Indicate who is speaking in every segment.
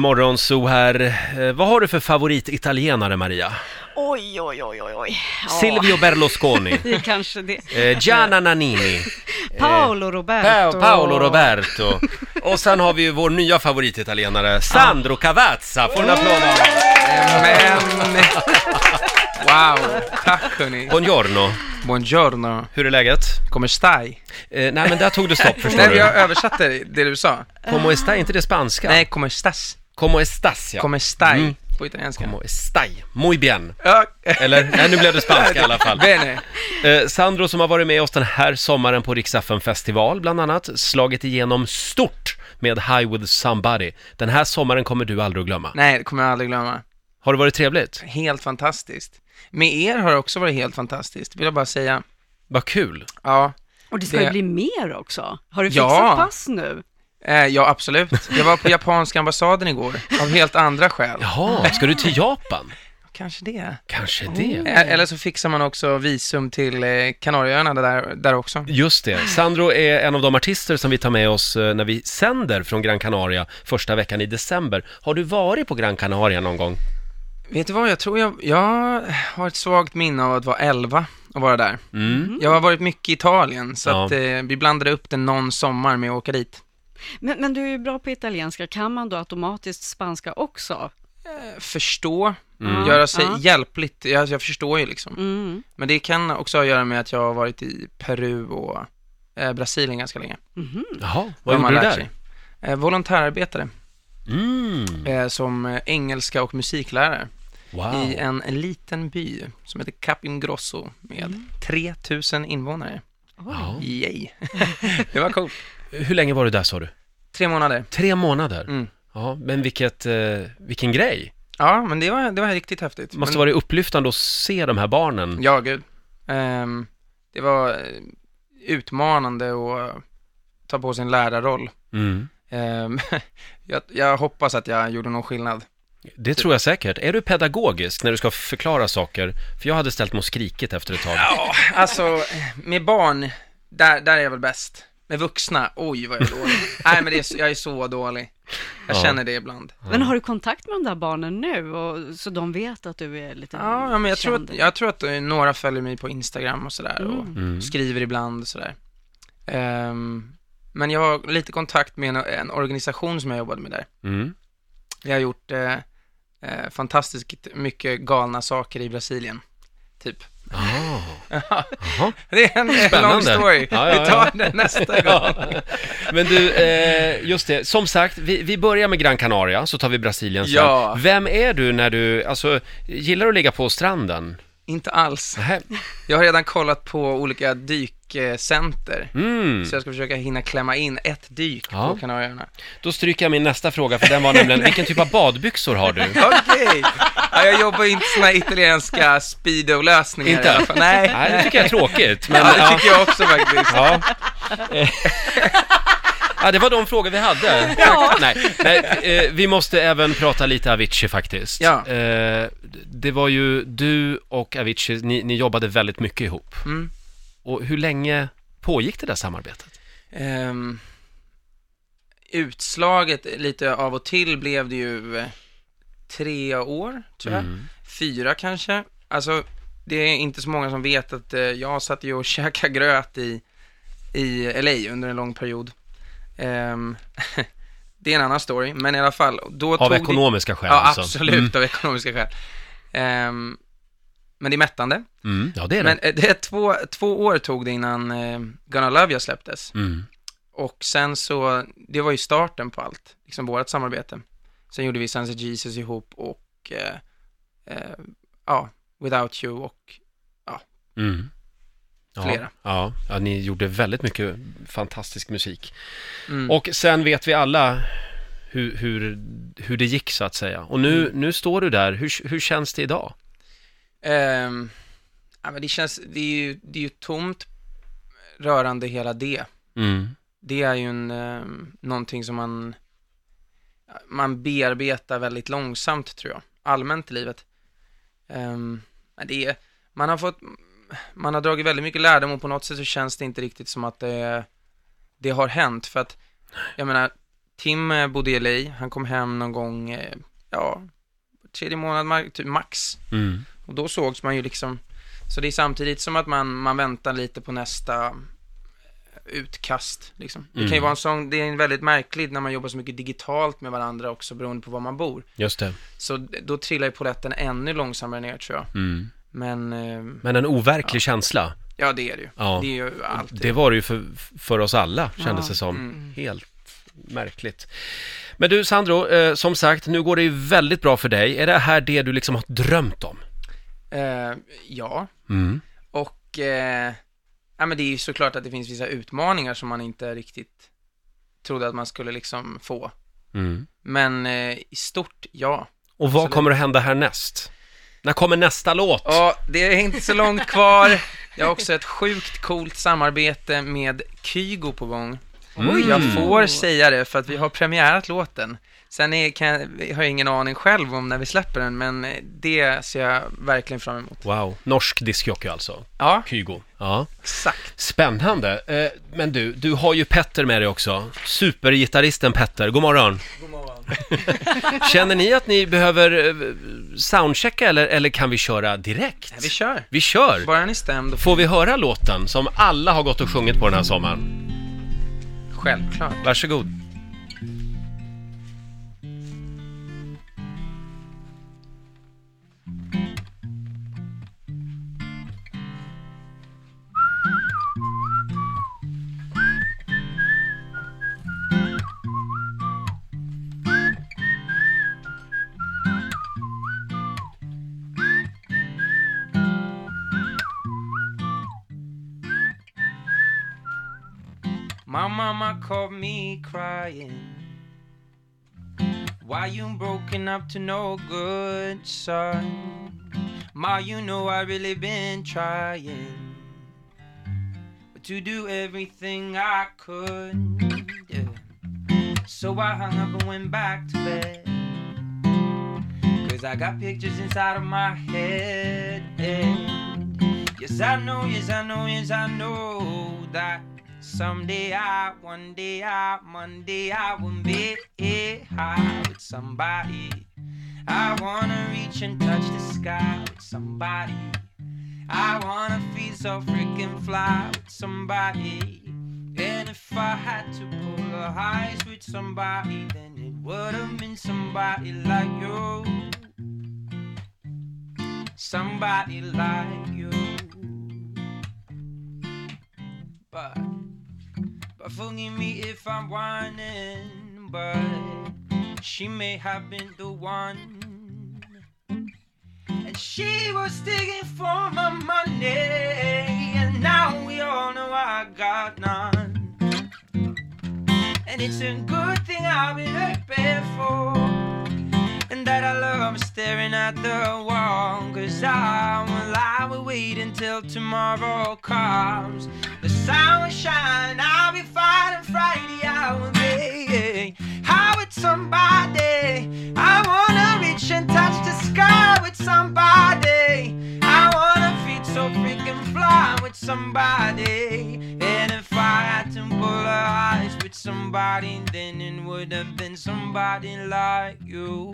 Speaker 1: Riksmorgonzoo här. Eh, vad har du för favorititalienare, Maria?
Speaker 2: Oj, oj, oj, oj, oj. Ja.
Speaker 3: Oh.
Speaker 1: Silvio Berlusconi,
Speaker 3: Det är kanske det.
Speaker 1: eh, Gianna Nannini,
Speaker 3: Eh, Paolo Roberto.
Speaker 1: pa- Paolo Roberto och sen har vi ju vår nya favorititalienare, Sandro Cavazza. Får en applåd av oss.
Speaker 4: Men... Wow, tack hörni.
Speaker 1: Buongiorno,
Speaker 4: Buongiorno.
Speaker 1: hur är läget?
Speaker 4: Kommer stai?
Speaker 1: Eh, nej, men där tog du stopp förstår
Speaker 4: Nej,
Speaker 1: du.
Speaker 4: jag översatte det du sa.
Speaker 1: Como está, inte det spanska?
Speaker 4: Nej, kommer stas.
Speaker 1: Como estas, ja.
Speaker 4: Kommer stai
Speaker 1: Mm.
Speaker 4: på italienska.
Speaker 1: Como estai. Muy bien.
Speaker 4: Ja,
Speaker 1: Eller, nej, nu blev det spanska i alla fall.
Speaker 4: bene.
Speaker 1: Eh, Sandro som har varit med oss den här sommaren på Riksaffen festival bland annat, slagit igenom stort med High with somebody. Den här sommaren kommer du aldrig att glömma.
Speaker 4: Nej, det kommer jag aldrig glömma.
Speaker 1: Har det varit trevligt?
Speaker 4: Helt fantastiskt. Med er har det också varit helt fantastiskt, vill jag bara säga.
Speaker 1: Vad kul!
Speaker 4: Ja,
Speaker 3: Och det ska
Speaker 4: Det-
Speaker 3: ju bli mer också. Har du fixat
Speaker 4: Ja.
Speaker 3: pass nu?
Speaker 4: eh, ja absolut. Jag var på japanska ambassaden igår, av helt andra skäl.
Speaker 1: Jaha, ska du till Japan?
Speaker 4: Kanske det.
Speaker 1: Kanske det.
Speaker 4: Eh, Eller så fixar man också visum till eh, Kanarieöarna där, där också.
Speaker 1: Just det. Sandro är en av de artister som vi tar med oss eh, när vi sänder från Gran Canaria första veckan i december. Har du varit på Gran Canaria någon gång?
Speaker 4: Vet du vad, jag tror jag, jag har ett svagt minne av att vara 11 och vara där.
Speaker 1: Mm.
Speaker 3: Mm.
Speaker 4: Jag har varit mycket i Italien, så
Speaker 1: Ja.
Speaker 4: att eh, vi blandade upp det någon sommar med att åka dit.
Speaker 3: Men, men du är ju bra på italienska. Kan man då automatiskt spanska också?
Speaker 4: Eh, Förstå,
Speaker 1: Mm.
Speaker 4: göra sig
Speaker 3: Ja.
Speaker 4: hjälpligt, jag, jag förstår ju liksom.
Speaker 3: Mm.
Speaker 4: Men det kan också ha att göra med att jag har varit i Peru och eh, Brasilien ganska länge.
Speaker 1: Jaha,
Speaker 4: Där
Speaker 1: vad
Speaker 4: man
Speaker 1: gjorde du
Speaker 4: lärt
Speaker 1: där?
Speaker 4: sig. Eh, volontärarbetare,
Speaker 1: Mm,
Speaker 4: eh, som eh, engelska och musiklärare i
Speaker 1: wow.
Speaker 4: en liten by som heter Capingrosso med
Speaker 3: Mm.
Speaker 4: 3000 invånare.
Speaker 1: Ja.
Speaker 4: Yay. det var coolt.
Speaker 1: Hur länge var du där sa du?
Speaker 4: Tre månader.
Speaker 1: Tre månader?
Speaker 4: Mm.
Speaker 1: Ja, men vilket, eh, vilken grej!
Speaker 4: Ja, men det var, det var riktigt häftigt.
Speaker 1: Det måste
Speaker 4: men,
Speaker 1: vara upplyftande att se de här barnen.
Speaker 4: Ja, gud. Ehm, det var eh, utmanande att eh, ta på sig en lärarroll.
Speaker 1: Mm.
Speaker 4: Ehm, jag, jag hoppas att jag gjorde någon skillnad.
Speaker 1: Det tror jag säkert. Är du pedagogisk när du ska förklara saker? För jag hade ställt mig och skrikit efter ett tag.
Speaker 4: Ja, alltså med barn, där, där är jag väl bäst. Med vuxna, oj vad jag är dålig. Nej, men det är, så- jag är så dålig. Jag
Speaker 1: Ja.
Speaker 4: känner det ibland.
Speaker 3: Men har du kontakt med de där barnen nu? Och, så de vet att du är lite
Speaker 4: Ja, ja, men jag tror,
Speaker 3: känd?
Speaker 4: att, jag tror att eh, några följer mig på Instagram och sådär och
Speaker 1: Mm.
Speaker 4: skriver ibland och sådär. Ehm, men jag har lite kontakt med en, en organisation som jag jobbade med där.
Speaker 1: Mm.
Speaker 4: Jag har gjort eh, eh, fantastiskt mycket galna saker i Brasilien, typ.
Speaker 1: Ah.
Speaker 4: Det är en eh,
Speaker 1: Spännande.
Speaker 4: long story.
Speaker 1: Ja, ja,
Speaker 4: Vi tar den nästa gång.
Speaker 1: Men du, eh, just det. Som sagt, vi, vi börjar med Gran Canaria, så tar vi Brasilien sen.
Speaker 4: Ja.
Speaker 1: Vem är du när du, alltså, gillar du att ligga på stranden?
Speaker 4: Inte alls.
Speaker 1: Nähä.
Speaker 4: Jag har redan kollat på olika dykcenter.
Speaker 1: Mm.
Speaker 4: Så jag ska försöka hinna klämma in ett dyk
Speaker 1: Ja.
Speaker 4: på Kanarieöarna.
Speaker 1: Då stryker jag min nästa fråga, för den var nämligen, vilken typ av badbyxor har du?
Speaker 4: Okej! Ja, jag jobbar inte såna italienska speedo-lösningar
Speaker 1: Inte?
Speaker 4: i alla fall. Nej.
Speaker 1: Nej, det tycker jag är tråkigt. Men,
Speaker 4: Ja,
Speaker 1: ja.
Speaker 4: det tycker jag också faktiskt.
Speaker 1: Ja. Eh. ja, det var de frågor vi hade. Nej, nej, eh, vi måste även prata lite Avicii faktiskt.
Speaker 4: Ja.
Speaker 1: Eh, det var ju du och Avicii, ni, ni jobbade väldigt mycket ihop.
Speaker 4: Mm.
Speaker 1: Och hur länge pågick det där samarbetet?
Speaker 4: Ehm, utslaget lite av och till blev det ju eh, tre år, tror
Speaker 1: Mm.
Speaker 4: jag. Fyra kanske. Alltså, det är inte så många som vet att eh, jag satt ju och käkade gröt i, i LA under en lång period. Ehm, det är en annan story, men i alla fall. Då
Speaker 1: Av
Speaker 4: tog det-
Speaker 1: ekonomiska skäl
Speaker 4: Ja,
Speaker 1: alltså.
Speaker 4: absolut,
Speaker 1: Mm.
Speaker 4: av ekonomiska skäl. Ehm, men det är mättande.
Speaker 1: Mm. Ja, det är det.
Speaker 4: Men eh, det är två, två år tog det innan eh, Gonna Love You släpptes.
Speaker 1: Mm.
Speaker 4: Och sen så, det var ju starten på allt, liksom vårt samarbete. Sen gjorde vi Sunset Jesus ihop och, eh, eh, ja, Without You och
Speaker 1: Mm. Ja,
Speaker 4: Flera.
Speaker 1: Ja, ja, ni gjorde väldigt mycket fantastisk musik.
Speaker 4: Mm.
Speaker 1: Och sen vet vi alla hur, hur, hur det gick så att säga. Och nu, nu står du där, hur, hur känns det idag?
Speaker 4: Ehm, ja, men det känns, det är ju, det är ju tomt rörande hela det.
Speaker 1: Mm.
Speaker 4: det är ju en, eh, någonting som man, man bearbetar väldigt långsamt tror jag, allmänt i livet. Ehm, men det är, man har fått, man har dragit väldigt mycket lärdom och på något sätt så känns det inte riktigt som att det, det har hänt för att, jag menar, Tim eh, bodde i LA, han kom hem någon gång, eh, ja, tredje månad ma- typ max.
Speaker 1: Mm.
Speaker 4: Och då sågs man ju liksom, så det är samtidigt som att man, man väntar lite på nästa utkast liksom. Det kan ju
Speaker 1: Mm.
Speaker 4: vara en sån, det är en väldigt märkligt när man jobbar så mycket digitalt med varandra också beroende på var man bor.
Speaker 1: Just det.
Speaker 4: Så d- då trillar ju polletten ännu långsammare ner tror jag.
Speaker 1: Mm.
Speaker 4: Men, eh,
Speaker 1: Men en overklig känsla.
Speaker 4: ja det är det ju.
Speaker 1: Ja.
Speaker 4: Det är ju alltid.
Speaker 1: Det var det ju för, för oss alla, kändes
Speaker 3: Ja.
Speaker 1: det som.
Speaker 4: Mm.
Speaker 1: Helt märkligt. Men du Sandro, eh, som sagt, nu går det ju väldigt bra för dig. Är det här det du liksom har drömt om?
Speaker 4: Eh, ja,
Speaker 1: Mm.
Speaker 4: och eh, ja, men det är ju såklart att det finns vissa utmaningar som man inte riktigt trodde att man skulle liksom få.
Speaker 1: Mm.
Speaker 4: Men eh, i stort, ja.
Speaker 1: Och vad
Speaker 4: Absolut.
Speaker 1: kommer att hända härnäst? När kommer nästa låt?
Speaker 4: Ja, det är inte så långt kvar. Jag har också ett sjukt coolt samarbete med Kygo på gång.
Speaker 1: Mm.
Speaker 4: Jag får säga det för att vi har premiärat låten. Sen är, kan, jag- har jag ingen aning själv om när vi släpper den, men eh, det ser jag verkligen fram emot.
Speaker 1: Wow, norsk discjockey alltså,
Speaker 4: Ja,
Speaker 1: Kygo. Ja.
Speaker 4: exakt.
Speaker 1: Spännande. Eh, men du, du har ju Petter med dig också. Supergitarristen Petter, god morgon. Känner ni att ni behöver eh, soundchecka eller, eller kan vi köra direkt?
Speaker 4: Vi kör.
Speaker 1: Vi kör!
Speaker 4: Bara den är stämd och
Speaker 1: Får vi höra låten som alla har gått och sjungit på den här sommaren?
Speaker 4: självklart.
Speaker 1: Varsågod.
Speaker 4: My mama called me crying. Why you broken up to no good, son? Ma, you know I really been trying to do everything I could. Yeah. So I hung up and went back to bed. Cause I got pictures inside of my head. Yes, I know, yes, I know, yes, I know that someday I, one day I, Monday I will be high with somebody. I wanna reach and touch the sky with somebody. I wanna feel so freaking fly with somebody. And if I had to pull a heist with somebody, then it would've been somebody like you. Somebody like you. But, but forgive me if I'm whining, but she may have been the one. And she was digging for my money, and now we all know I got none. And it's a good thing I've been hurt before. And that I love staring at the wall. Cause I will I will wait until tomorrow comes. The sun will shine, I'll be fine and Friday I will be high with somebody. I wanna reach and touch the sky with somebody. I wanna feel so freaking fly with somebody. And if I had to pull her eyes with somebody, then it would have been somebody like you.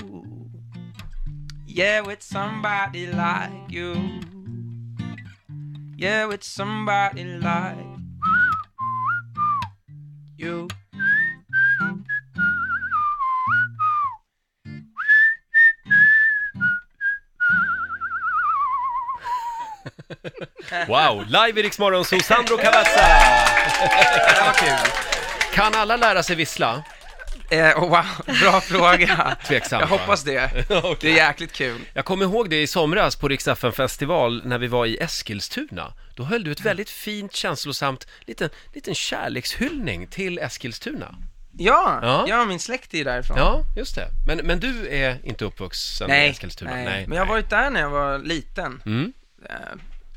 Speaker 4: Yeah, with somebody like you. Yeah, with somebody like you.
Speaker 1: Wow, live i Rix Morgon, så Sandro Cavazza!
Speaker 4: Det var kul.
Speaker 1: Kan alla lära sig vissla?
Speaker 4: Eh, oh, wow, bra fråga.
Speaker 1: Tveksamt,
Speaker 4: Jag
Speaker 1: va?
Speaker 4: hoppas det. Det är jäkligt kul.
Speaker 1: Jag kommer ihåg det i somras på Rix FM festival när vi var i Eskilstuna. Då höll du ett
Speaker 4: Mm.
Speaker 1: väldigt fint, känslosamt, liten, liten kärlekshyllning till Eskilstuna.
Speaker 4: Ja,
Speaker 1: Ja.
Speaker 4: ja. min släkt är ju därifrån.
Speaker 1: Ja, just det. Men, men du är inte uppvuxen i
Speaker 4: nej,
Speaker 1: Eskilstuna?
Speaker 4: nej. men jag har
Speaker 1: nej.
Speaker 4: varit där när jag var liten.
Speaker 1: Mm.
Speaker 4: Eh,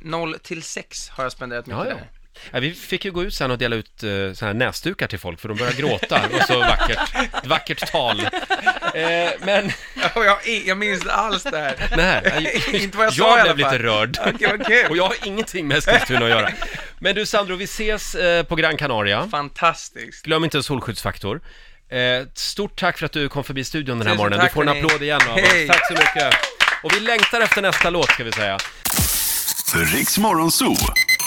Speaker 4: 0 till 6 har jag spenderat mycket
Speaker 1: Ja, ja.
Speaker 4: där.
Speaker 1: Ja, vi fick ju gå ut sen och dela ut eh, så här näsdukar till folk för de började gråta. Det var så vackert. Ett vackert tal. Eh, men,
Speaker 4: Och jag, jag minns inte alls det här.
Speaker 1: nej.
Speaker 4: Inte vad jag sa i
Speaker 1: jag
Speaker 4: alla
Speaker 1: blev lite
Speaker 4: fall.
Speaker 1: rörd.
Speaker 4: Okej, vad kul.
Speaker 1: Och jag har ingenting med Eskilstuna att göra. Men du Sandro, vi ses eh, på Gran Canaria.
Speaker 4: Fantastiskt.
Speaker 1: Glöm inte solskyddsfaktor. Eh, stort tack för att du kom förbi studion den här
Speaker 4: Tusen
Speaker 1: morgonen. Du
Speaker 4: tack,
Speaker 1: får en
Speaker 4: hörni.
Speaker 1: applåd igen av oss.
Speaker 4: Hej.
Speaker 1: Tack så mycket. Och vi längtar efter nästa låt ska vi säga.
Speaker 5: Riks Morgonzoo.